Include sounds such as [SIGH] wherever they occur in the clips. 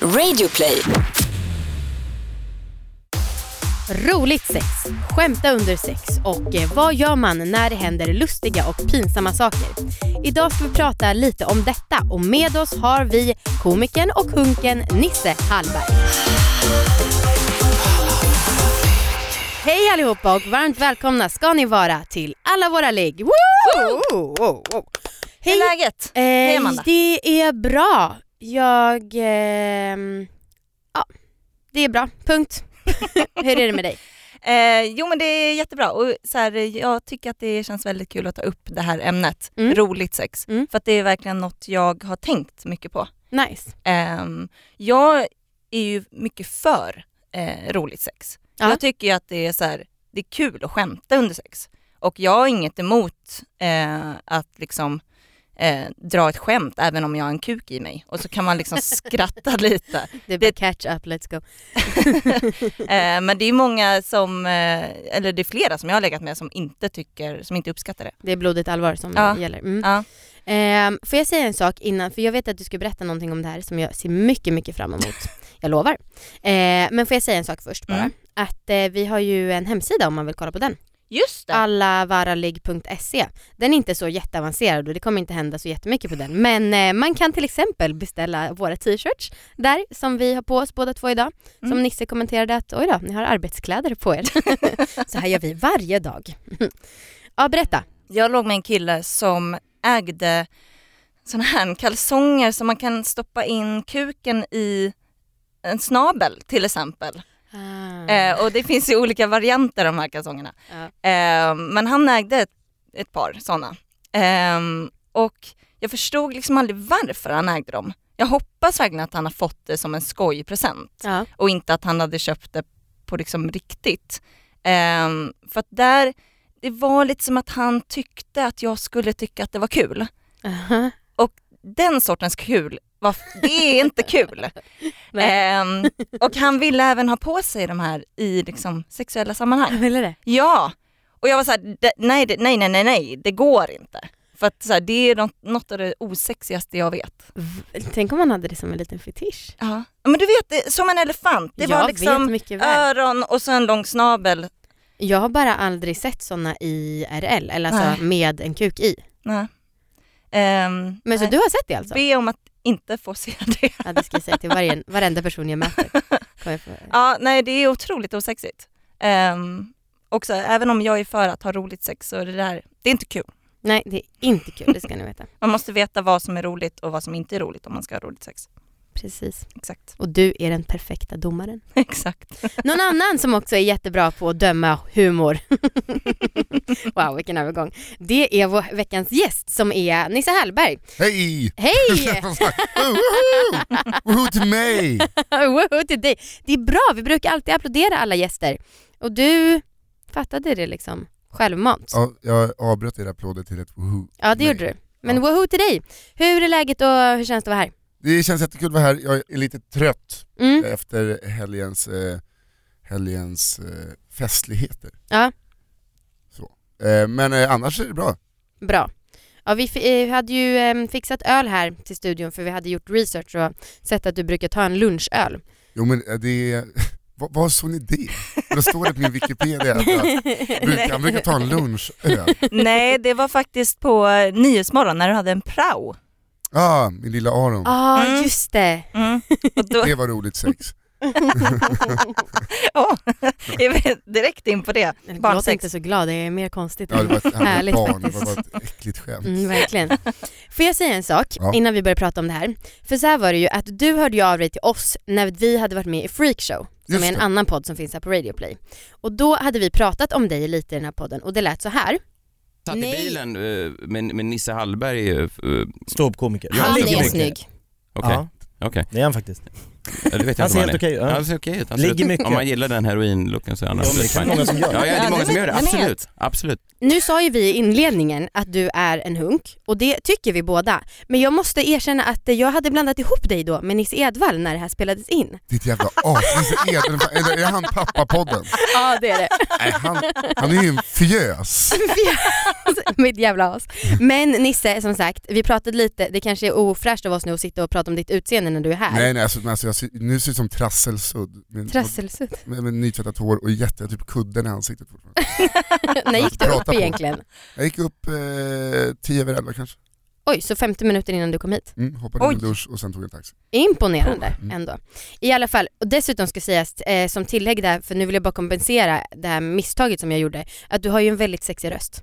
Radioplay. Roligt sex, skämta under sex och eh, vad gör man när det händer lustiga och pinsamma saker? Idag ska vi prata lite om detta och med oss har vi komikern och hunken Nisse Hallberg. Hej allihopa och varmt välkomna ska ni vara till alla våra ligg. Woo! Wow, wow. Hur är läget? Hej Amanda. Eh, Det är bra. Jag... ehm, ja, det är bra. Punkt. [LAUGHS] Hur är det med dig? Eh, jo men det är jättebra och så här, jag tycker att det känns väldigt kul att ta upp det här ämnet, Mm. roligt sex. Mm. För att det är verkligen något jag har tänkt mycket på. Nice. Ehm, jag är ju mycket för eh, roligt sex. Ja. Jag tycker ju att det är, så här, det är kul att skämta under sex. Och jag har inget emot eh, att liksom eh, dra ett skämt även om jag har en kuk i mig. Och så kan man liksom skratta [LAUGHS] lite. Det är bara catch up, let's go. Eh, men det är många som, eh, eller det är flera som jag har legat med som inte tycker, som inte uppskattar det. Det är blodigt allvar som Ja. gäller. Mm. Ja. Ehm, får jag säga en sak innan? För jag vet att du ska berätta någonting om det här som jag ser mycket, mycket fram emot. Jag lovar. Ehm, men får jag säga en sak först bara? Mm. Att eh, vi har ju en hemsida om man vill kolla på den. Just det! Allavaraligg.se. Den är inte så jätteavancerad och det kommer inte hända så jättemycket på den. Men eh, man kan till exempel beställa våra t-shirts där som vi har på oss båda två idag. Som Mm. Nisse kommenterade att oj då, ni har arbetskläder på er. [LAUGHS] så här gör vi varje dag. ja, berätta. Jag låg med en kille som ägde såna här kalsonger som man kan stoppa in kuken i en snabel till exempel. Eh, och det finns ju olika varianter av de här kalsongerna. Ja. Eh, men han ägde ett, ett par sådana. Eh, och jag förstod liksom aldrig varför han ägde dem. Jag hoppas verkligen att han har fått det som en skojpresent. Ja. och inte att han hade köpt det på liksom riktigt. Ehm, för att där, det var lite som att han tyckte att jag skulle tycka att det var kul. Aha. Den sortens kul, var, det är inte kul. [LAUGHS] Nej. Ehm, och han ville även ha på sig de här i liksom sexuella sammanhang. ville det? Ja, och jag var så här, "Det- nej, det- nej, nej, nej, nej, det går inte. För att så här, det är något, något av det osexigaste jag vet. Tänk om man hade det som en liten fetisch. Ja. Men du vet, det- som en elefant, det jag var liksom vet mycket väl. öron och så en lång snabel. jag har bara aldrig sett sådana i RL, eller alltså Nej. med en kuk i. Nej. Ehm, Men så nej. du har sett det alltså? Be om att inte få se [LAUGHS] det. Ja, det ska jag säga till varje, varenda person jag möter. Kommer jag på. Ja, nej det är otroligt osexigt. Um, också, även om jag är för att ha roligt sex så är det där, det är inte kul. Nej, det är inte kul, det ska ni veta. Man måste veta vad som är roligt och vad som inte är roligt om man ska ha roligt sex. Precis. Exakt. Och du är den perfekta domaren. [LAUGHS] Exakt. Någon annan som också är jättebra på att döma humor. [LAUGHS] wow, vilken övergång. Det är vår veckans gäst som är Nisse Hallberg. Hej! [LAUGHS] Hej! [LAUGHS] Woho! Woho till mig! Woho till dig. Det är bra, vi brukar alltid applådera alla gäster. Och du fattade det liksom självmant. Ja, Ja, jag avbröt era applåder till ett woho. det nej. gjorde du. Men Ja. woho till dig. Hur är läget och hur känns det att vara här? Det känns jättekul att vara här, jag är lite trött Mm. efter helgens, eh, helgens eh, festligheter. Ja. Så. Eh, men eh, annars är det bra. Bra. Ja, vi fi- eh, hade ju eh, fixat öl här till studion för vi hade gjort research och sett att du brukar ta en lunchöl. Jo men eh, det är... [LAUGHS] Vad, vad såg ni det? Då står det på min Wikipedia att jag brukar, han brukar ta [LAUGHS] en lunchöl. nej, det var faktiskt på eh, Nyhetsmorgon när du hade en prao. Ah, min lilla Aron. Ja, Mm. just det. Mm. Och [LAUGHS] då, Det var roligt sex. Åh, [LAUGHS] jag vet, direkt in på det. Jag låter Barnsex. inte så glad, det är mer konstigt. Ja, det var ett, han var ett Härligt barn, det faktiskt. var bara ett äckligt [LAUGHS] skämt. Mm, verkligen. Får jag säga en sak Ja. innan vi börjar prata om det här? För så här var det ju att du hörde ju av dig till oss när vi hade varit med i Freakshow, som Just är en det. annan podd som finns här på Radio Play. Och då hade vi pratat om dig lite i den här podden och det lät så här. satt Nej. i bilen eh, med, med Nisse Hallberg. eh, f- eh, Ståuppkomiker. Ja, Han det är tycker jag. snygg. Okej, Ja, okej. det är han faktiskt. Eller vet jag Han inte ser vad han helt är. okej ut. Ja, Ja. han ser okej ut. absolut. Ligger mycket. Om man gillar den heroinlooken så är han Ja, men absolut det är många som gör. Ja, ja, det är Ja, många den som är- gör det. den är- Absolut. Absolut. Nu sa ju vi i inledningen att du är en hunk och det tycker vi båda. Men jag måste erkänna att eh, jag hade blandat ihop dig då med Nisse Edvall när det här spelades in. Ditt jävla as, Nisse Edlund, eller är han pappapodden? [LAUGHS] Ja det är [LAUGHS] det. Nej, han, han är ju en fjös. alltså, Mitt jävla as. Men Nisse, som sagt, vi pratade lite, det kanske är ofräscht av oss nu att sitta och prata om ditt utseende när du är här. Nej nej, alltså, men alltså, jag ser, nu ser jag ut som trasselsudd. Med, Trasselsudd. [LAUGHS] med, med nytvättat hår och jätte, jag har typ kudden i ansiktet fortfarande. När gick du Prata upp på. egentligen? Jag gick upp eh, tio över elva kanske, Oj, så 50 minuter innan du kom hit. mm, hoppade Oj. in i en dusch och sen tog en taxi. Imponerande Mm. ändå. I alla fall, och dessutom ska sägas eh, som tillägg där, för nu vill jag bara kompensera det här misstaget som jag gjorde, att du har ju en väldigt sexig röst.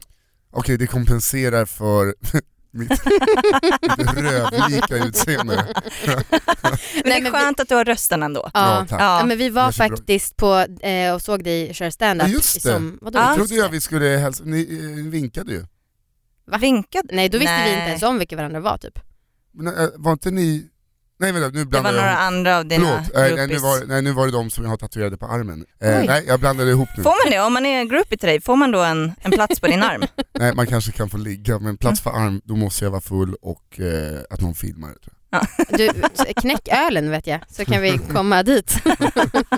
Okej, det kompenserar för [LAUGHS] mitt, mitt rövlika utseende. Men Nej, det är men vi- skönt att du har rösten ändå. Ja, Ja. tack. Ja, Ja. men vi var Jag ser bra. faktiskt på eh, och såg dig köra standup. Ja, just det. Som, vadå? Ja. Jag trodde jag vi skulle hälsa, ni eh, vinkade ju. Va? Vinkade. Nej, då visste vi Nej. inte ens om vilka varandra var typ. Men, eh, var inte ni, nej vänta nu Det var blandade jag några ihop. andra av dina Förlåt, eh, nej, nu groupies. var, nej nu var det de som jag har tatuerade på armen. Eh, Oj. nej jag blandade ihop nu. Får man det? Om man är groupie till dig, får man då en, en plats på din arm? Nej man kanske kan få ligga, men plats Mm. för arm, då måste jag vara full och eh, att någon filmar. Tror jag. [LAUGHS] Du, knäck ölen vet jag, så kan vi komma dit. [LAUGHS]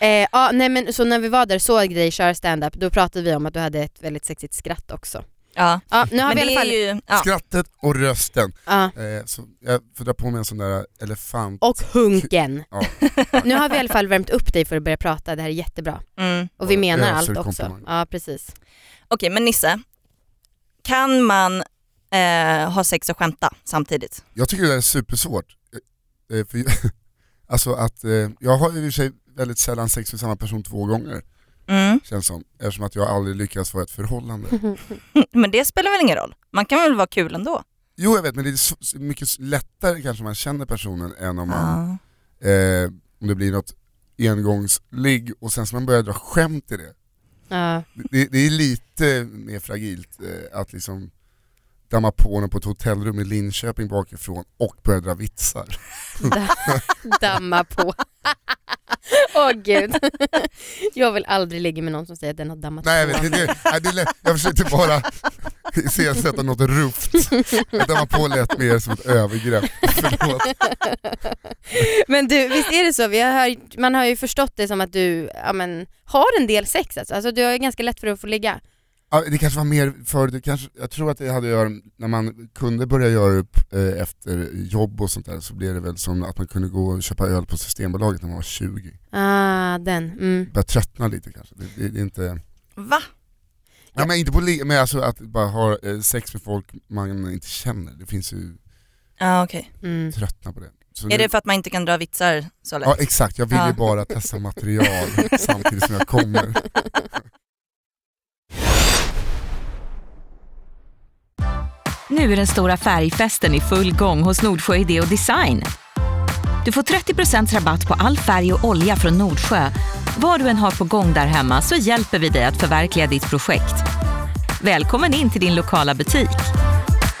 eh, ja, nej, men, så när vi var där och såg dig köra standup, då pratade vi om att du hade ett väldigt sexigt skratt också. Ja. Ja, nu har Men vi i det alla är fall... ju... Ja. Skrattet och rösten. Ja, Eh, så jag får dra på mig en sån där elefant. och hunken. Ja. Nu har vi i alla fall värmt upp dig för att börja prata, det här är jättebra. [LAUGHS] Mm. Och vi Ja, menar öser allt också. komplimang. Ja, precis. Okej, men Nisse. Kan man eh, ha sex och skämta samtidigt? Jag tycker det där är supersvårt. Eh, eh, för, [LAUGHS] alltså att, eh, jag har ju i och för sig väldigt sällan sex med samma person två gånger, Mm. [LAUGHS] känns som. Eftersom att jag aldrig lyckas vara i ett förhållande. Men det spelar väl ingen roll? Man kan väl vara kul ändå? Jo jag vet, men det är så, mycket lättare kanske om man känner personen än om man Ja. eh, om det blir något engångsligg och sen så man börjar dra skämt i det. Ja. Det, det är lite mer fragilt eh, att liksom damma på honom på ett hotellrum i Linköping bakifrån och börja dra vitsar. Damma på. [LAUGHS] Åh gud. Jag vill aldrig ligga med någon som säger att den har dammat Nej jag, på. vet, det, det, nej, det, är lätt- jag försökte bara [LAUGHS] iscensätta något rufft. Att damma på lät mer som ett övergrepp. [LAUGHS] Förlåt. [LAUGHS] Men du, visst är det så? Vi har hört, man har ju förstått det som att du ja, men, har en del sex alltså. alltså du har ju ganska lätt för att få ligga. Ja, Det kanske var mer för det kanske, jag tror att det hade att göra när man kunde börja göra upp eh, efter jobb och sånt där så blev det väl som att man kunde gå och köpa öl på Systembolaget när man var 20. Ah, den. Mm. börjar tröttna lite kanske. Det, det, det är inte, Va? ja, men inte på li- men alltså att bara ha eh, sex med folk man inte känner. Det finns ju Ja, okej. Mm. tröttna på det. Så Mm. Är nu- det för att man inte kan dra vitsar så lätt? Ja exakt, jag vill ju Ja. bara [LAUGHS] testa material samtidigt som jag kommer. Nu är den stora färgfesten i full gång hos Nordsjö Idé och Design. Du får 30 rabatt på all färg och olja från Nordsjö. Vad du än har på gång där hemma så hjälper vi dig att förverkliga ditt projekt. Välkommen in till din lokala butik.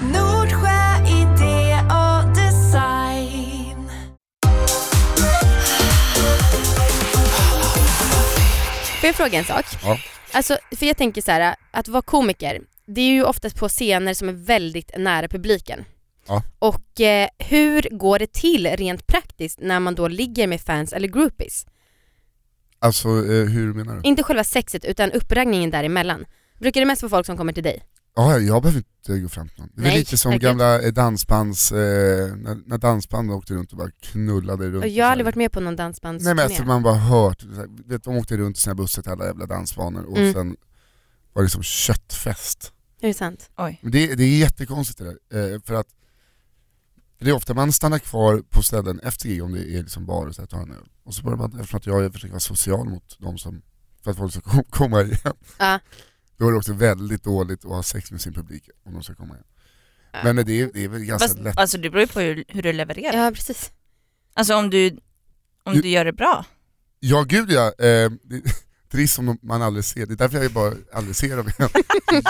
Nordsjö idé och design. Får jag fråga en sak? Ja. Alltså, för jag tänker så här, att vara komiker, det är ju oftast på scener som är väldigt nära publiken. Ja. Och eh, hur går det till rent praktiskt när man då ligger med fans eller groupies? Alltså eh, hur menar du? Inte själva sexet utan uppraggningen däremellan. Brukar det mest vara folk som kommer till dig? Ja, jag behöver inte gå fram till någon. Det är Nej, lite som verkligen. gamla eh, dansbands, eh, när, när dansbanden åkte runt och bara knullade runt. Och jag har aldrig varit med på någon dansbandsturné. Nej men alltså man bara hört, så här, vet, de åkte runt i sina bussar till alla jävla dansbanor och Mm. sen var det som köttfest. Är det sant? Oj. Men Det, det är jättekonstigt det där, eh, för att det är ofta man stannar kvar på ställen efter gig om det är liksom bar och så här, tar en öl. Och så börjar man, eftersom att jag försöker vara social mot de som, för att folk ska kom- komma igen. Ja. Då är det också väldigt dåligt att ha sex med sin publik om de ska komma igen. Ja. Men eh, det är, det är väl ganska Fast, lätt. alltså det beror ju på hur, hur du levererar. Ja precis. Alltså om du, om Du- du gör det bra. Ja gud ja, eh, det, [LAUGHS] trist om de- man aldrig ser, det är därför jag bara aldrig ser [LAUGHS] dem igen.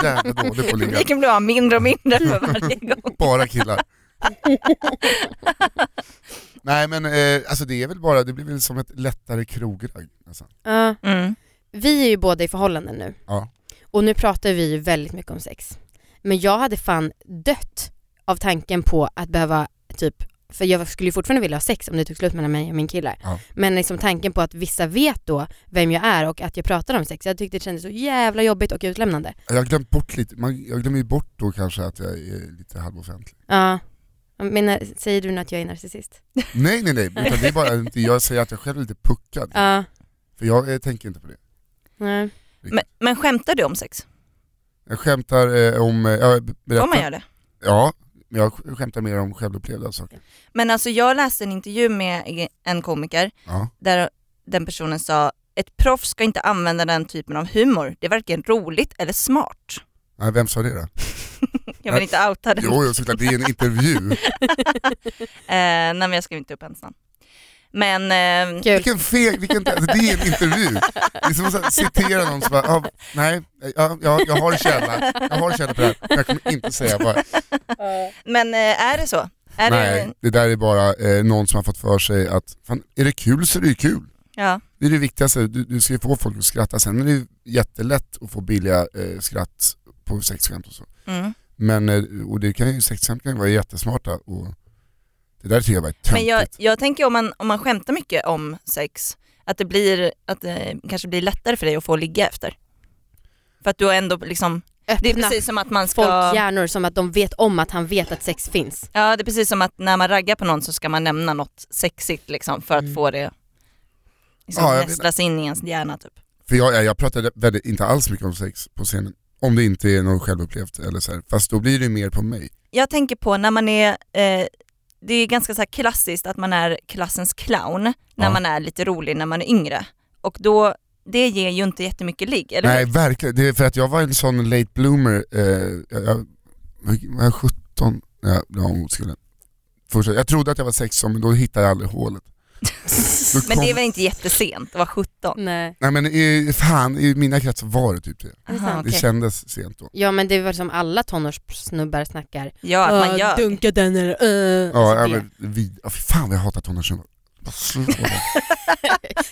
Jävla dålig på att ligga. Publiken blir av Mm. mindre och mindre för varje gång. Bara killar. Nej men eh, alltså det är väl bara, det blir väl som ett lättare krogragg nästan. Ja. Mm. vi är ju båda i förhållanden nu. Ja. Och nu pratar vi ju väldigt mycket om sex. Men jag hade fan dött av tanken på att behöva typ, för jag skulle ju fortfarande vilja ha sex om det tog slut mellan mig och min kille. Ja. Men liksom tanken på att vissa vet då vem jag är och att jag pratar om sex. Jag tyckte det kändes så jävla jobbigt och utlämnande. Jag har glömt bort lite, man, jag glömmer ju bort då kanske att jag är lite halvoffentlig. Ja. Men när, säger du nu att jag är narcissist? Nej nej nej, utan det är bara inte, jag säger att jag själv är lite puckad. Ja. För jag eh, tänker inte på det. Nej. Men, men skämtar du om sex? Jag skämtar eh, om, eh, jag berättar, Får man göra det? ja, men jag sk- skämtar mer om självupplevda saker. Men alltså jag läste en intervju med en komiker Ja. där den personen sa ett proffs ska inte använda den typen av humor. Det är varken roligt eller smart. Nej, vem sa det då? Jag vill inte outa den. Äh, Jo, jo såklart, det är en intervju. [LAUGHS] Eh, nej men jag skrev inte upp ens namn. Men eh, Kul. Vilken feg, vilken, alltså, det är en intervju. Det är som att så här citera någon som bara, ah, nej, ja, jag, jag har en källa, jag har en källa på det här, men jag kommer inte säga vad. [LAUGHS] men eh, är det så? Är Nej, Det, det där är bara eh, någon som har fått för sig att, fan, är det kul så är det ju kul. ja. Det är det viktigaste, du, du ska ju få folk att skratta, sen är det ju jättelätt att få billiga eh, skratt på sexskämt och så. Mm. Men, eh, och det kan ju, sexskämt kan ju vara jättesmarta och det där tycker jag bara är töntigt. Men jag, jag tänker om man, om man skämtar mycket om sex, att det, blir, att det kanske blir lättare för dig att få ligga efter. För att du har ändå liksom, det är Öppna precis som att man ska... folks hjärnor som att de vet om att han vet att sex finns. Ja det är precis som att när man raggar på någon så ska man nämna något sexigt liksom för att få det liksom, Mm. Ja, jag nästlas in i ens hjärna typ. För jag, eh, jag- jag pratade väldigt, inte alls mycket om sex på scenen. Om det inte är något självupplevt eller så här. Fast då blir det ju mer på mig. Jag tänker på när man är, eh, det är ganska så här klassiskt att man är klassens clown när Ja. man är lite rolig när man är yngre. Och då, det ger ju inte jättemycket ligg, eller Nej hur? verkligen, det är för att jag var en sån late bloomer, eh, jag, jag var jag 17 när jag blev av med oskulden. Första, jag trodde att jag var 16 men då hittade jag aldrig hålet. Då [LAUGHS] Men det är kom- väl inte jättesent att vara 17? Nej. Nej men i, fan, i mina kretsar var det typ det. Aha, Det okej. kändes sent då. Ja men det är väl som alla tonårssnubbar snackar. Ja, att man "Äh, gör. Dunka den eller... äh." Ja, Alltså ja det. men vid, ja, fy fan vad jag hatar tonårsnummer. Bara slår dem. [LAUGHS] [LAUGHS] [LAUGHS]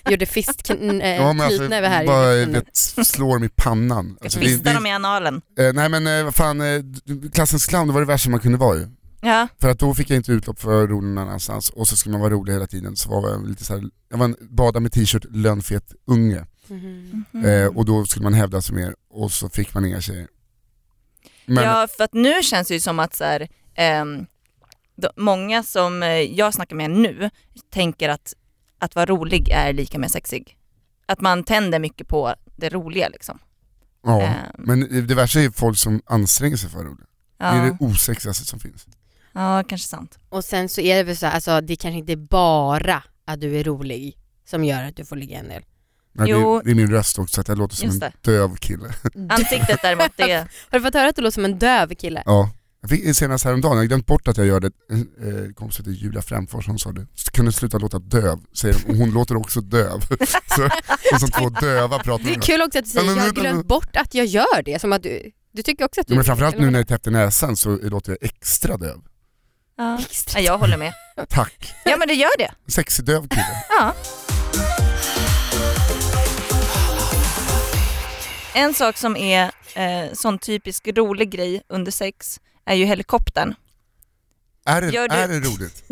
Gjorde fistknytnäve Ja, Eh, men typ alltså, här. i bara, stunden. vet, slår mig i pannan. Alltså, det- Fista det- dem i analen. Eh, nej men eh, vad fan, eh, d- d- klassens clown det var det värsta man kunde vara ju. Ja, För att då fick jag inte utlopp för rolig någon annanstans och så skulle man vara rolig hela tiden så var jag lite så här, jag var en bada med t-shirt, lönfet unge. Mhm. Mm. Eh, och då skulle man hävda sig mer och så fick man inga tjejer. Men, ja för att nu känns det ju som att så här, ehm, de, många som eh, jag snackar med nu tänker att att vara rolig är lika med sexig. Att man tänder mycket på det roliga liksom. ja, Ehm, men det värsta är ju folk som anstränger sig för roligt. Det är ja. det osexigaste som finns. ja, kanske sant. Och sen så är det väl så här, alltså det kanske inte är bara att du är rolig som gör att du får ligga en [LAUGHS] del. Men det, Jo. är, det är min röst också, att jag låter som Just en det. döv kille. Ansiktet däremot, det, Har du fått höra att du låter som en döv kille? ja. Jag fick senast häromdagen, jag har glömt bort att jag gör det, en eh, kompis heter Julia Främfors, hon sa det. Kan du sluta låta döv? Säger hon, och hon låter också döv. [LAUGHS] Så, och som två döva pratar Det med är kul också att du säger, Ja, men jag har vänta, glömt men- bort att jag gör det. Som att du, du tycker också att du... Ja, men framförallt nu när jag är täppt i näsan så låter jag extra döv. [LAUGHS] ja. Extra. Nej, jag håller med. Tack. Ja men det gör det. Sexig döv kille. Ja. En sak som är eh, sån typisk rolig grej under sex är ju helikoptern. Är det, Gör du- är det roligt?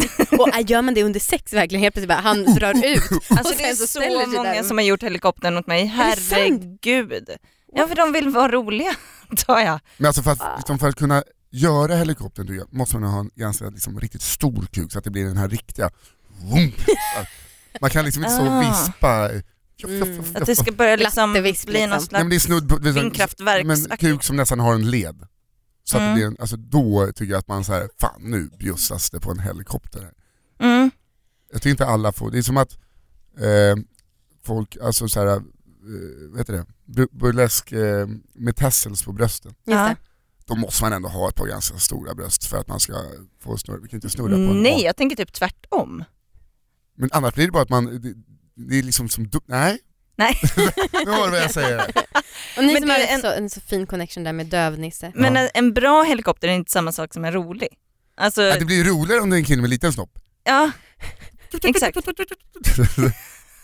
Och äh, gör man det under sex verkligen? Helt plötsligt bara, han drar ut. Alltså [LAUGHS] det Och sen är så, så ställer sig många där. som har gjort helikoptern åt mig, Är det sant? herregud. Ja för de vill vara roliga, [LAUGHS] antar jag. Men alltså för Ah. att, liksom för att kunna göra helikoptern tycker jag, måste man ha en ganska liksom, riktigt stor kuk så att det blir den här riktiga... [LAUGHS] Vroom. Man kan liksom inte stå och Ah. vispa... Mm. Att det ska börja liksom bli Lattevisp, liksom. någon Nej, men det är slags... snudd på... liksom- Vindkraftverksaktigt. Men kuk som nästan har en led. Så att det Mm. blir en, alltså då tycker jag att man så här, fan nu bjussas det på en helikopter. här. Mm. Jag tycker inte alla får, det är som att eh, folk, alltså så här, eh, vad heter det, Bu- burlesk eh, med tassels på brösten. Just Ja. det. Då måste man ändå ha ett par ganska stora bröst för att man ska få snurra, vi kan inte snurra på en Nej, A. jag tänker typ tvärtom. Men annars blir det bara att man, det, det är liksom som, du, nej, [LAUGHS] Nej. nu hör du vad jag säger. Och ni Men som du, har en... en- Så, en så fin connection där med dövnisse. Men Ja. en- en bra helikopter är inte samma sak som en rolig. Alltså, Att det blir roligare om det är en kille med liten snopp. [LAUGHS] ja, exakt.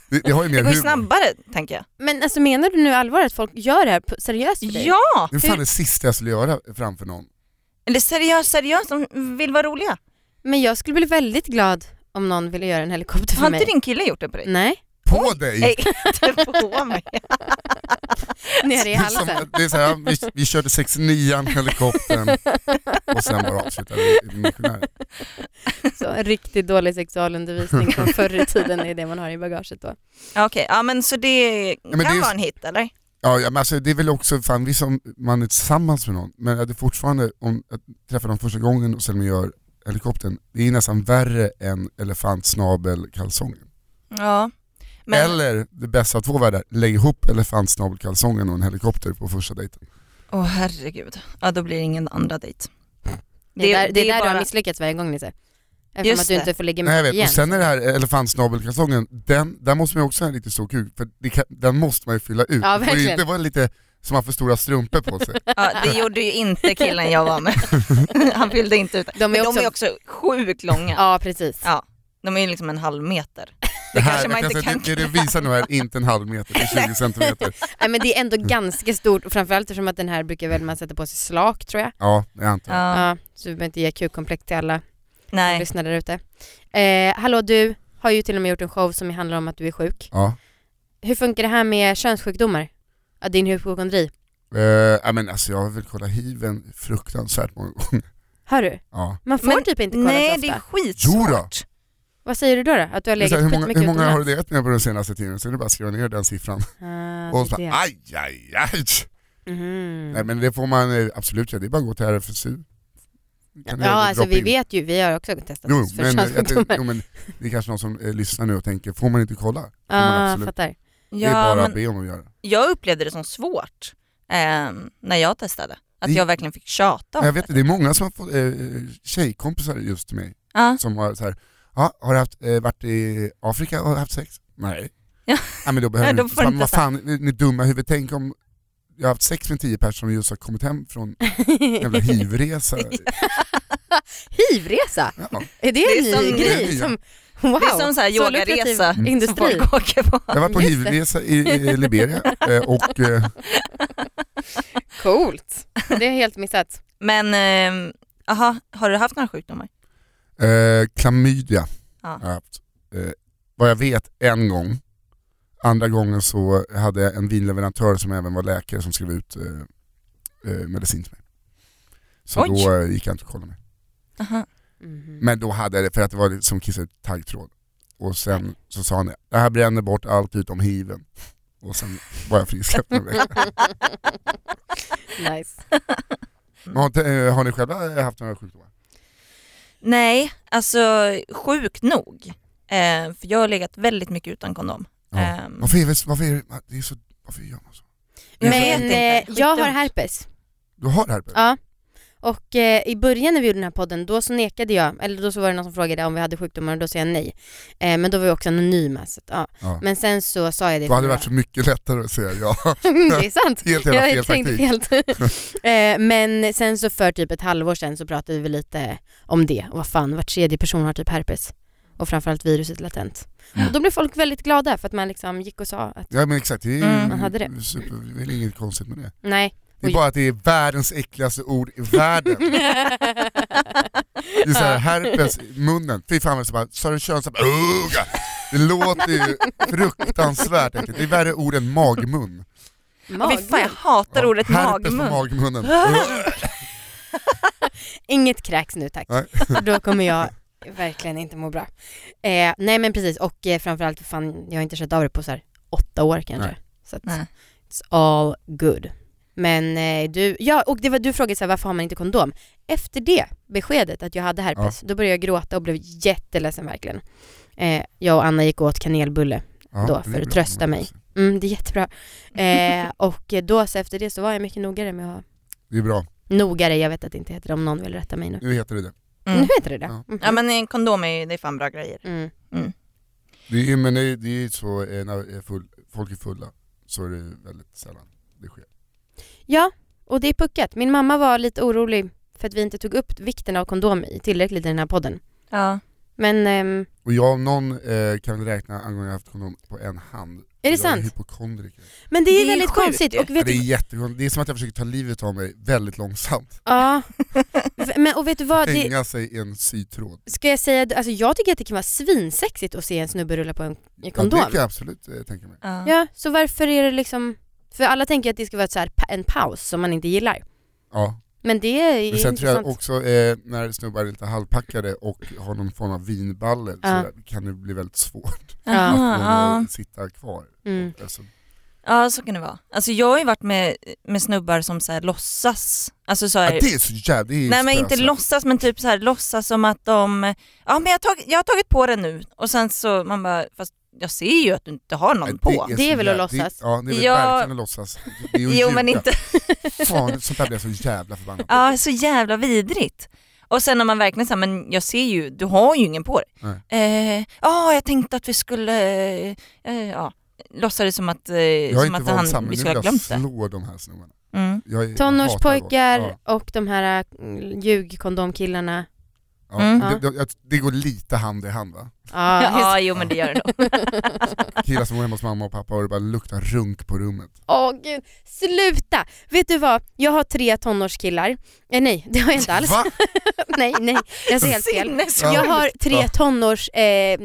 Det, det har ju Det mer går ju humor. snabbare tänker jag. Men alltså menar du nu allvar att folk gör det här på- seriöst för dig? Ja! Det är fan det sista jag skulle göra framför någon. Eller seriöst, seriöst, de vill vara roliga. Men jag skulle bli väldigt glad om någon ville göra en helikopter Har för inte mig. din kille gjort det på dig? [LAUGHS] Nej, På dig! Nej, [LAUGHS] inte på mig. nere i Det är som- halsen. det är så här, vi, vi körde 69an, helikoptern och sen bara avslutade vi i missionären. Så, en riktigt dålig sexualundervisning [LAUGHS] från förr i tiden är det man har i bagaget då. Ja, Okej, ja men så det men det kan är ju- vara en hit eller? Ja, ja, men alltså, det är väl också, fan visst om man är tillsammans med någon, men att det fortfarande, om jag träffar dem första gången och sen man gör helikoptern, det är nästan värre än elefantsnabelkalsongen. Ja. Men, Eller det bästa av två världar, lägg ihop elefantsnabelkalsongen och en helikopter på första dejten. Åh herregud, ja då blir det ingen andra dejt. Det är, där, det är där du har bara- misslyckats varje gång Nisse. Eftersom Just att du det. inte får ligga Nej jag med vet, igen. och sen är det här elefantsnabelkalsongen, den, där måste man ju också ha en riktigt stor kuk, för det kan, den måste man ju fylla ut. Ja, det får ju verkligen. inte vara lite som man för stora strumpor på sig. Ja, det gjorde ju inte killen jag var med. [LAUGHS] Han fyllde inte ut. De är Men också- de är också sjukt långa. Ja precis. Ja. De är ju liksom en halv meter. Det kanske man jag inte säga, kan det, det du visar nu här, inte en halv meter, det är 20 centimeter. Nej, men det är ändå ganska stort och framförallt eftersom att den här brukar väl man sätta på sig slak tror jag. Ja, jag antar. Ja, Ja, så vi behöver inte ge Q-komplex till alla nej. lyssnare där ute. Eh, hallå du har ju till och med gjort en show som handlar om att du är sjuk. Ja. Hur funkar det här med könssjukdomar? Ja, din hypokondri. Eh, ja, men alltså jag har väl kollat hiven fruktansvärt många gånger. Hör du? Ja. Man får Men- typ inte kolla Nej så det ofta. är skitsvårt. Vad säger du då? då? Att du har Men så legat här, hur, många, skitmycket hur många har du utomlands? legat med på den senaste tiden? Så det är bara att skriva ner den siffran. Ah, och det så är bara, det. aj, aj, aj. Mhm. Nej men det får man eh, absolut göra, det är bara att gå till RFSU. Kan Ja göra det, alltså droppa vi in. vet ju, vi har också testat Jo oss för men, eh, jag, könssjukdomar. [LAUGHS] jo men det är kanske någon som eh, lyssnar nu och tänker, får man inte kolla? Får Ja, man jag absolut. fattar. Det är bara Ja, att men be om att göra. jag upplevde det som svårt eh, när jag testade. Att Det- jag verkligen fick tjata om Jag vet inte, det är många som har fått eh, tjejkompisar just till mig Ja. som har så här, ja, har du haft, eh, varit i Afrika och haft sex? Nej. Ja. Nej men då Nej, behöver du då inte, får du fan, inte vad säga. fan, ni, ni dumma huvud, tänk om jag har haft sex med tio personer som just har kommit hem [LAUGHS] från en jävla hivresa. [LAUGHS] Hivresa? Ja. Är det, Det är en ny som- Det är grej? nya. Mm. Som, wow, Det är som så här lukrativ yogaresa som industri. folk åker på. Jag var på Just hivresa i, i Liberia eh, och eh, Coolt. Det har jag helt missat. Men, eh, aha, har du haft några sjukdomar? eh, klamydia Ja. har jag haft. Eh, vad jag vet en gång. Andra gången så hade jag en vinleverantör som även var läkare som skrev ut eh, eh, medicin till mig. Så Oj. då eh, gick jag inte och kollade mig. Aha. Mhm. Men då hade jag det för att det var som kissa ut taggtråd. Och sen så sa han det, det här bränner bort allt utom hiven. Och sen var jag frisk efter en vecka. nice. Men Har, inte- eh, har ni själva haft några sjukdomar? Mm. Nej, alltså sjukt nog. Eh, för jag har legat väldigt mycket utan kondom. Ja. Ehm, Varför, är det, varför, är det, det är så, varför gör man så? Jag Men vet inte. eh, jag har Skitdumt. herpes. Du har herpes? Ja. Och eh, i början när vi gjorde den här podden, då så nekade jag, eller då så var det någon som frågade om vi hade sjukdomar och då sa jag nej. Eh, men då var vi också anonyma. Så att, ja. Ja. Men sen så sa jag det. Då hade för några- det varit så mycket lättare att säga ja. [LAUGHS] [LAUGHS] det är sant. Helt jävla fel Jag tänkte taktik. fel. [LAUGHS] Eh, men sen så för typ ett halvår sen så pratade vi lite om det. Och vad fan, var tredje person har typ herpes. Och framförallt viruset latent. Mm. Och då blev folk väldigt glada för att man liksom gick och sa att Ja men exakt, det är Mm, man hade ju super, det är väl inget konstigt med det. nej. Det är Oj. bara att det är världens äckligaste ord i världen. [LAUGHS] Det är såhär, herpes, i munnen, fy fan vad det är så bara, sa du kön så bara, "Ugh." Det låter ju fruktansvärt äckligt, det är värre ord än magmun. Åh, fy fan, jag hatar Ja, ordet herpes på magmun. magmunnen. Ah. Inget kräks nu tack. Nej. För då kommer jag verkligen inte må bra. Eh, nej men precis och eh, framförallt för fan, jag har inte känt av det på så här åtta år kanske. Nej. Så att, Nej. it's all good. Men eh, du, ja och det var, du frågade så här, varför har man inte kondom? Efter det beskedet att jag hade herpes, då började jag gråta och blev jätteledsen verkligen. Eh, jag och Anna gick och åt kanelbulle. Ja, Då, det är för bra. att trösta mig. Mm, det är jättebra. Eh, och då så efter det så var jag mycket nogare med att ha Det är bra, Nogare, jag vet att det inte heter det om någon vill rätta mig nu. nu heter det det. Nu Mm. heter det det. Ja. Mhm. Ja men eh, kondom är ju, det är fan bra grejer. Mm. det är, men det är, det är så, eh, när är full, folk är fulla så är det väldigt sällan det sker. Ja, och det är puckat. Min mamma var lite orolig för att vi inte tog upp vikten av kondom i tillräckligt i den här podden. Ja. Men ehm, Och jag om någon eh, kan väl räkna angående jag haft kondom på en hand. är det jag sant? Är hypokondriker. Men det är, Det är väldigt sjukt konstigt. ju. Och Ja, vet det är du, jättekonstigt, det är som att jag försöker ta livet av mig väldigt långsamt. ja. V- Men, och vet du vad, det, Hänga sig i en sytråd. ska jag säga, alltså jag tycker att det kan vara svinsexigt att se en snubbe rulla på en en kondom. Ja, det Ja, kan jag absolut eh, tänka mig. Ja. så varför är det liksom, för alla tänker att det ska vara ett så här, pa- en paus som man inte gillar. Ja. Men det är Men sen intressant. tror jag också eh, när snubbar är lite halvpackade och har någon form av vinballe Ja. så kan det bli väldigt svårt Ja. att ja. ah. sitta kvar. Mm. Alltså, ja, så kan det vara. Alltså jag har ju varit med, med snubbar som så här låtsas, alltså så ja, här, det är så alltså. jävla... Det är nej men inte spösat. låtsas men typ så här låtsas som att de, ja men jag har, tagit, jag har tagit på det nu och sen så man bara, fast jag ser ju att du inte har någon Nej, på. Det är väl så att jä- låtsas? Det, ja, det är väl Ja. verkligen att låtsas. Det är ju att [LAUGHS] Jo men ljuga. inte, Fan, sånt där blir jag så jävla förbannad på. ja så jävla vidrigt. Och sen när man verkligen säger men jag ser ju, du har ju ingen på dig. Nej. Ja, eh, ja, jag tänkte att vi skulle, eh, eh, ja, låtsades som att, eh, Jag är som inte att våldsam, han, vi men nu skulle ha vill jag glömt det. slå de här snubbarna. Mm. Jag är- jag Tonårspojkar hatar våld. och de här mm, ljugkondomkillarna. Ja, Mm. ja. Det, det, det går lite hand i hand va? [LAUGHS] Ja, Ja, jo men det gör det [LAUGHS] nog. Killar som går hemma hos mamma och pappa och det bara luktar runk på rummet. Åh gud, sluta! Vet du vad, jag har tre tonårskillar. Eh, nej, det har jag inte alls. Va? [LAUGHS] nej, nej, jag ser helt fel. Sinnessjukt. Jag har tre Ja. tonårs eh,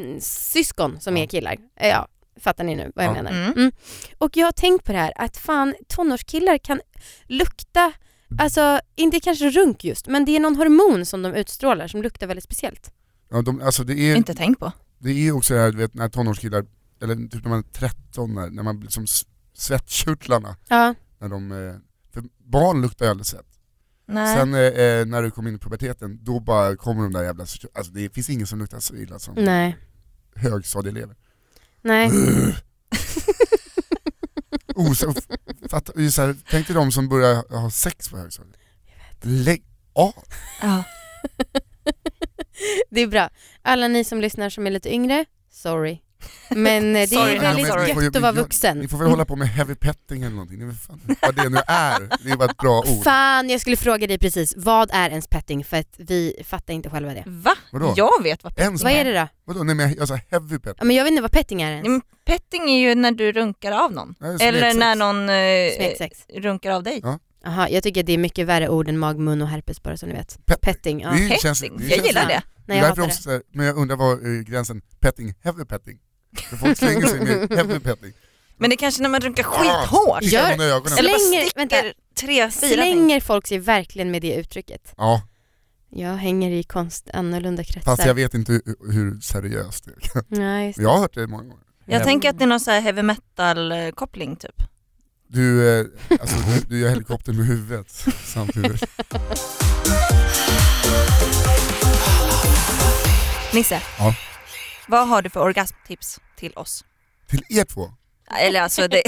syskon som Ja. är killar. Eh, Ja, fattar ni nu vad jag Ja. menar? Mm. Mm. Och jag har tänkt på det här att fan tonårskillar kan lukta, alltså inte kanske runk just, men det är någon hormon som de utstrålar som luktar väldigt speciellt. Ja, de, alltså det är, Inte tänkt på. det är ju också det här du vet när tonårskillar, eller typ när man är 13 när, när man blir som s- svettkörtlarna Ja, när de, eh, för barn luktar ju aldrig svett. Nej. Sen eh, eh, när du kommer in i puberteten, då bara kommer de där jävla, alltså det finns ingen som luktar så illa som nej, högstadieelever. nej. [LAUGHS] Os- och Oh, f- fatta- det är så här, tänk dig de som börjar ha sex på högstadiet. Lägg av! Ja. [LAUGHS] Det är bra. Alla ni som lyssnar som är lite yngre, sorry. Men eh, det Sorry. är väldigt Ja, men vi får ju- gött att vara vi- vuxen. Ni får väl hålla på med heavy petting eller någonting, det är väl fan vad det nu är. Det är bara ett bra ord. Fan, jag skulle fråga dig precis, vad är ens petting? För att vi fattar inte själva det. Va? Vadå? Jag vet vad petting Ens Vad är det då? Vadå? Nej men jag sa heavy petting. Ja, men jag vet inte vad petting är Nej, ens. men petting är ju när du runkar av någon. Nej, det är Eller smeksex. när någon eh, Smeksex. runkar av dig. Ja. Jaha, jag tycker att det är mycket värre ord än mag, mun och herpes bara som ni vet. Pe- Petting, ja. Det är ju- känns- Petting, jag känns- gillar det. Det Nej är jag därför hatar jag också, så här, men jag undrar var eh, gränsen petting, heavy petting? För folk slänger sig med heavy petting. Men det är kanske när man runkar Ah, skithårt. tittar Gör- någon i ögonen. Eller bara Slänger- sticker vänta. tre, det. fyra ting. Slänger folk sig verkligen med det uttrycket? Ja, Jag hänger i konst annorlunda kretsar. fast jag vet inte hur, hur seriöst det är. Nej, just det. Men Jag har hört det många gånger. Jag Ja. tänker att det är någon så här heavy metal-koppling typ. Du, eh, alltså, du, du gör helikoptern med huvudet samtidigt. Nisse, Ja. vad har du för orgasmtips till oss? Till er två. Eller alltså, det...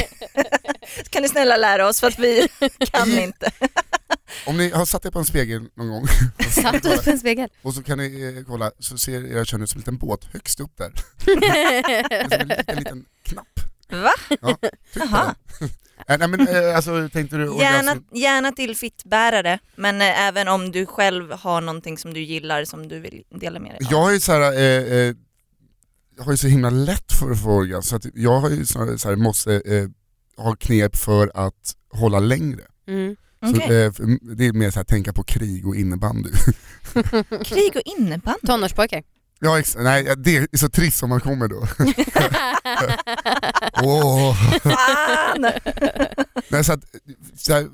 [LAUGHS] kan ni snälla lära oss för att vi kan inte. Om ni har satt er på en spegel någon gång Satt upp en spegel. och så kan ni eh, kolla så ser era kön ut som en liten båt högst upp där. Alltså, Som en liten, liten knapp. Va? Ja, tryck på Aha. den. [LAUGHS] Eh, Nej men eh, alltså tänkte du Gärna, orgasm? gärna till fittbärare, men eh, även om du själv har någonting som du gillar som du vill dela med dig av. Jag är ju så här, eh, eh, jag har ju så himla lätt för att få orgasm så att jag har ju snarare så här, måste eh, ha knep för att hålla längre. Mm. [LAUGHS] Så, Okej. eh, för- det är mer så här, tänka på krig och innebandy. [LAUGHS] Krig och innebandy? Tonårspojkar. ja, ex- nej, det är så trist om man kommer då. [LAUGHS] Åh. Fan! [LAUGHS] Nej, så att, så här,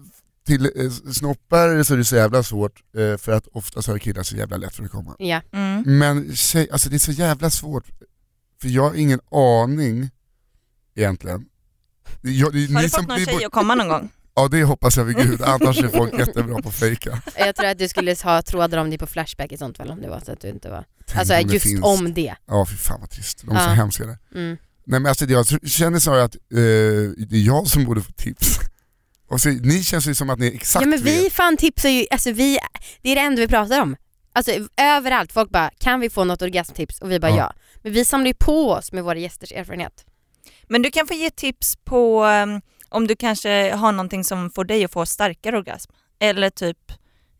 till eh, snoppar så är det så jävla svårt eh, för att ofta så har killar så jävla lätt för att komma. Ja. Mm. Men tjej, alltså det är så jävla svårt, för jag har ingen aning egentligen. Jag, det, är Har ni du som- fått någon det är bo- tjej att komma någon gång? Ja det hoppas jag vid gud, annars är folk jättebra på att fejka. Jag tror att du skulle ha trådar om dig på Flashback i sånt fall om det var så att du inte var... Tänk Alltså det just finns. om det. Ja fy fan vad trist, de är Ja. så hemska där. Mm. Nej men alltså det- jag tr- känner snarare att eh, det är jag som borde få tips. Och så, ni känns ju som att ni exakt Ja men vi vet. fan tipsar ju, alltså vi, det är det enda vi pratar om. Alltså överallt, folk bara kan vi få något orgasmtips och vi bara ja. Ja. Men vi samlar ju på oss med våra gästers erfarenhet. Men du kan få ge tips på um, om du kanske har någonting som får dig att få starkare orgasm. Eller typ,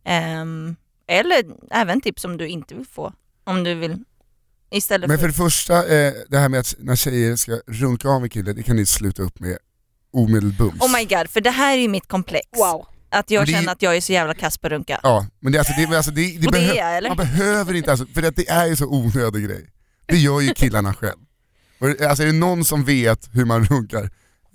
ehm, eller även tips om du inte vill få. Om du vill Istället Men för för... det första, eh, det här med att när tjejer ska runka av en kille, det kan ni sluta upp med omedelbums. Oh my god, för det här är ju mitt komplex. Att jag Men det- känner att jag är så jävla kass på runka. Ja, men det, alltså, det, alltså, det, det Och det är behö- jag eller? man behöver inte, alltså, för att det är ju så onödig grej. Det gör ju killarna själv. Och, det- alltså är det någon som vet hur man runkar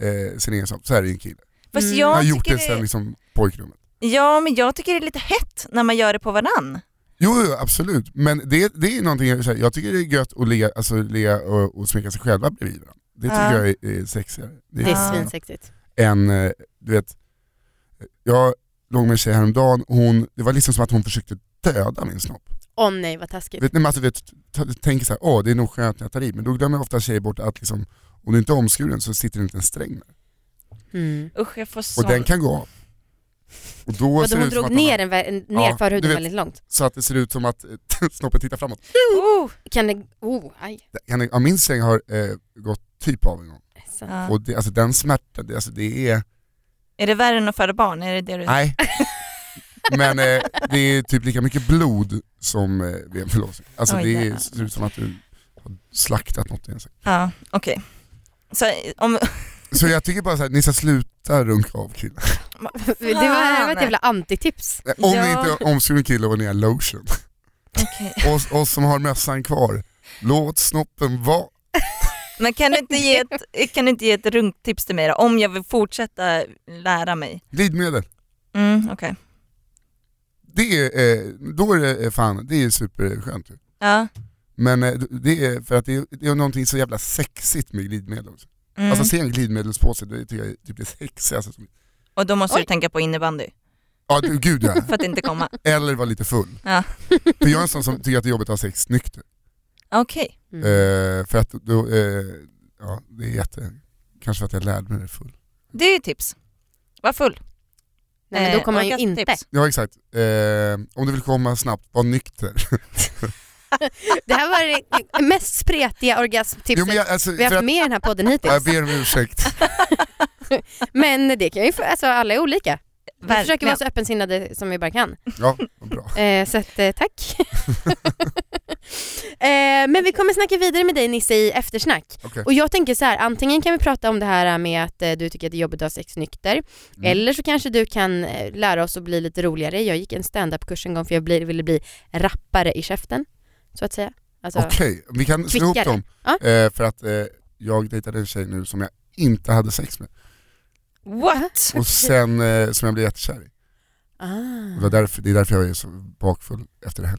eh, sin egen sak så är det ju en kille. Fast Mm. Jag jag, har gjort tycker det sen liksom, pojkrummet. Ja men jag tycker det är lite hett när man gör det på varann. Jo, jo absolut, men det, det är någonting, jag, så här, jag tycker det är gött att ligga, alltså, ligga och, och smeka sig själva bredvid varandra. Det tycker Ja. jag är, är sexigare. Det är Ja. svinsexigt. än, eh, du vet, jag låg med en tjej häromdagen, hon, det var liksom som att hon försökte döda min snopp. Åh nej vad taskigt. Vet ni, men alltså, vet, t- tänker såhär, åh det är nog skönt när jag tar i, men då glömmer ofta tjejer bort att liksom, om du inte är omskuren så sitter det inte en sträng där. Mm. Usch jag får Och sån... den kan gå av. Och då Vadå ser det hon ut som drog att man, ner, en, vä- en- ner Ja, du förhuden vet. väldigt långt? så att det ser ut som att eh, [LAUGHS] snoppen tittar framåt. Oh, Kan det, oh aj. Henrik, ja, min sträng har eh, gått typ av en gång. Så. ja. Och det, alltså, den smärtan, det, alltså, det är, Är det värre än att föda barn? Är det det du... [LAUGHS] nej. Men eh, det är typ lika mycket blod som eh, vid en förlossning. Alltså Oj, det är, jävlar. ser ut som att du har slaktat något i en säck. Ja, okej. Så om... Så jag tycker bara såhär, ni ska sluta runka av killar. [LAUGHS] Det var det var ett Fan. jävla antitips. Nej, Eh, Om Ja. ni inte är omskuren kille och ni är lotion. Okej. [LAUGHS] Oss, oss som har mössan kvar, låt snoppen vara. Men kan du, inte ge [LAUGHS] ett, kan du inte ge ett runktips till mig då? Om jag vill fortsätta lära mig. Glidmedel, Mm, okej. det är, eh, då är det eh, fan, det är superskönt. ju. Ja. Men eh, det är för att det är, det är någonting så jävla sexigt med glidmedel. Också. Mm. Alltså se en glidmedelspåse, det tycker jag är typ det sexigaste som... och då måste Oj. du tänka på innebandy Ja du, gud ja. för att inte [LAUGHS] komma. Eller vara lite full. Ja. För jag är en sån som tycker att det är jobbigt att ha sex nykter. Okej. Mm. Eh, för att då, eh, ja det är jätte... Kanske för att jag lärde mig det full. Det är ju tips. Var full. nej men då Eh, kommer man ju orgasm- inte. tips. Ja exakt. Eh, om du vill komma snabbt, var nykter. Det här var det mest spretiga orgasmtipset Jo, men jag, alltså, vi har för haft att, med i den här podden jag hittills. ber om ursäkt. Men det kan ju, alltså alla är olika. Vi försöker vara Verkligen. så öppensinnade som vi bara kan. Ja, vad bra. Eh, så att, eh, [LAUGHS] tack. eh, men vi kommer snacka vidare med dig Nisse i eftersnack. Okej. Och jag tänker så här, antingen kan vi prata om det här med att eh, du tycker att det är jobbigt att ha sex nykter. Mm. Eller så kanske du kan eh, lära oss att bli lite roligare. Jag gick en standup-kurs en gång för jag bli, ville bli rappare i käften. Så att säga. Alltså, Okej, vi kan slå ihop Kvickare. dem. Ja. Eh, för att eh, jag dejtade en tjej nu som jag inte hade sex med. What? Och sen eh, som jag blev jättekär i. Och det, Ah. var därför, det är därför jag är så bakfull efter det här.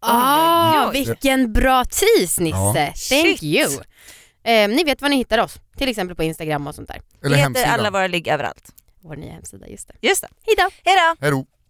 Ah, Oj, oj, oj. vilken bra tease Nisse! Thank Shit. you! Eh, ni vet var ni hittar oss, till exempel på Instagram och sånt där. Eller Heter alla hemsidan. våra ligg överallt. Vår nya hemsida, just det. Just det. Hejdå! Hejdå! Hejdå.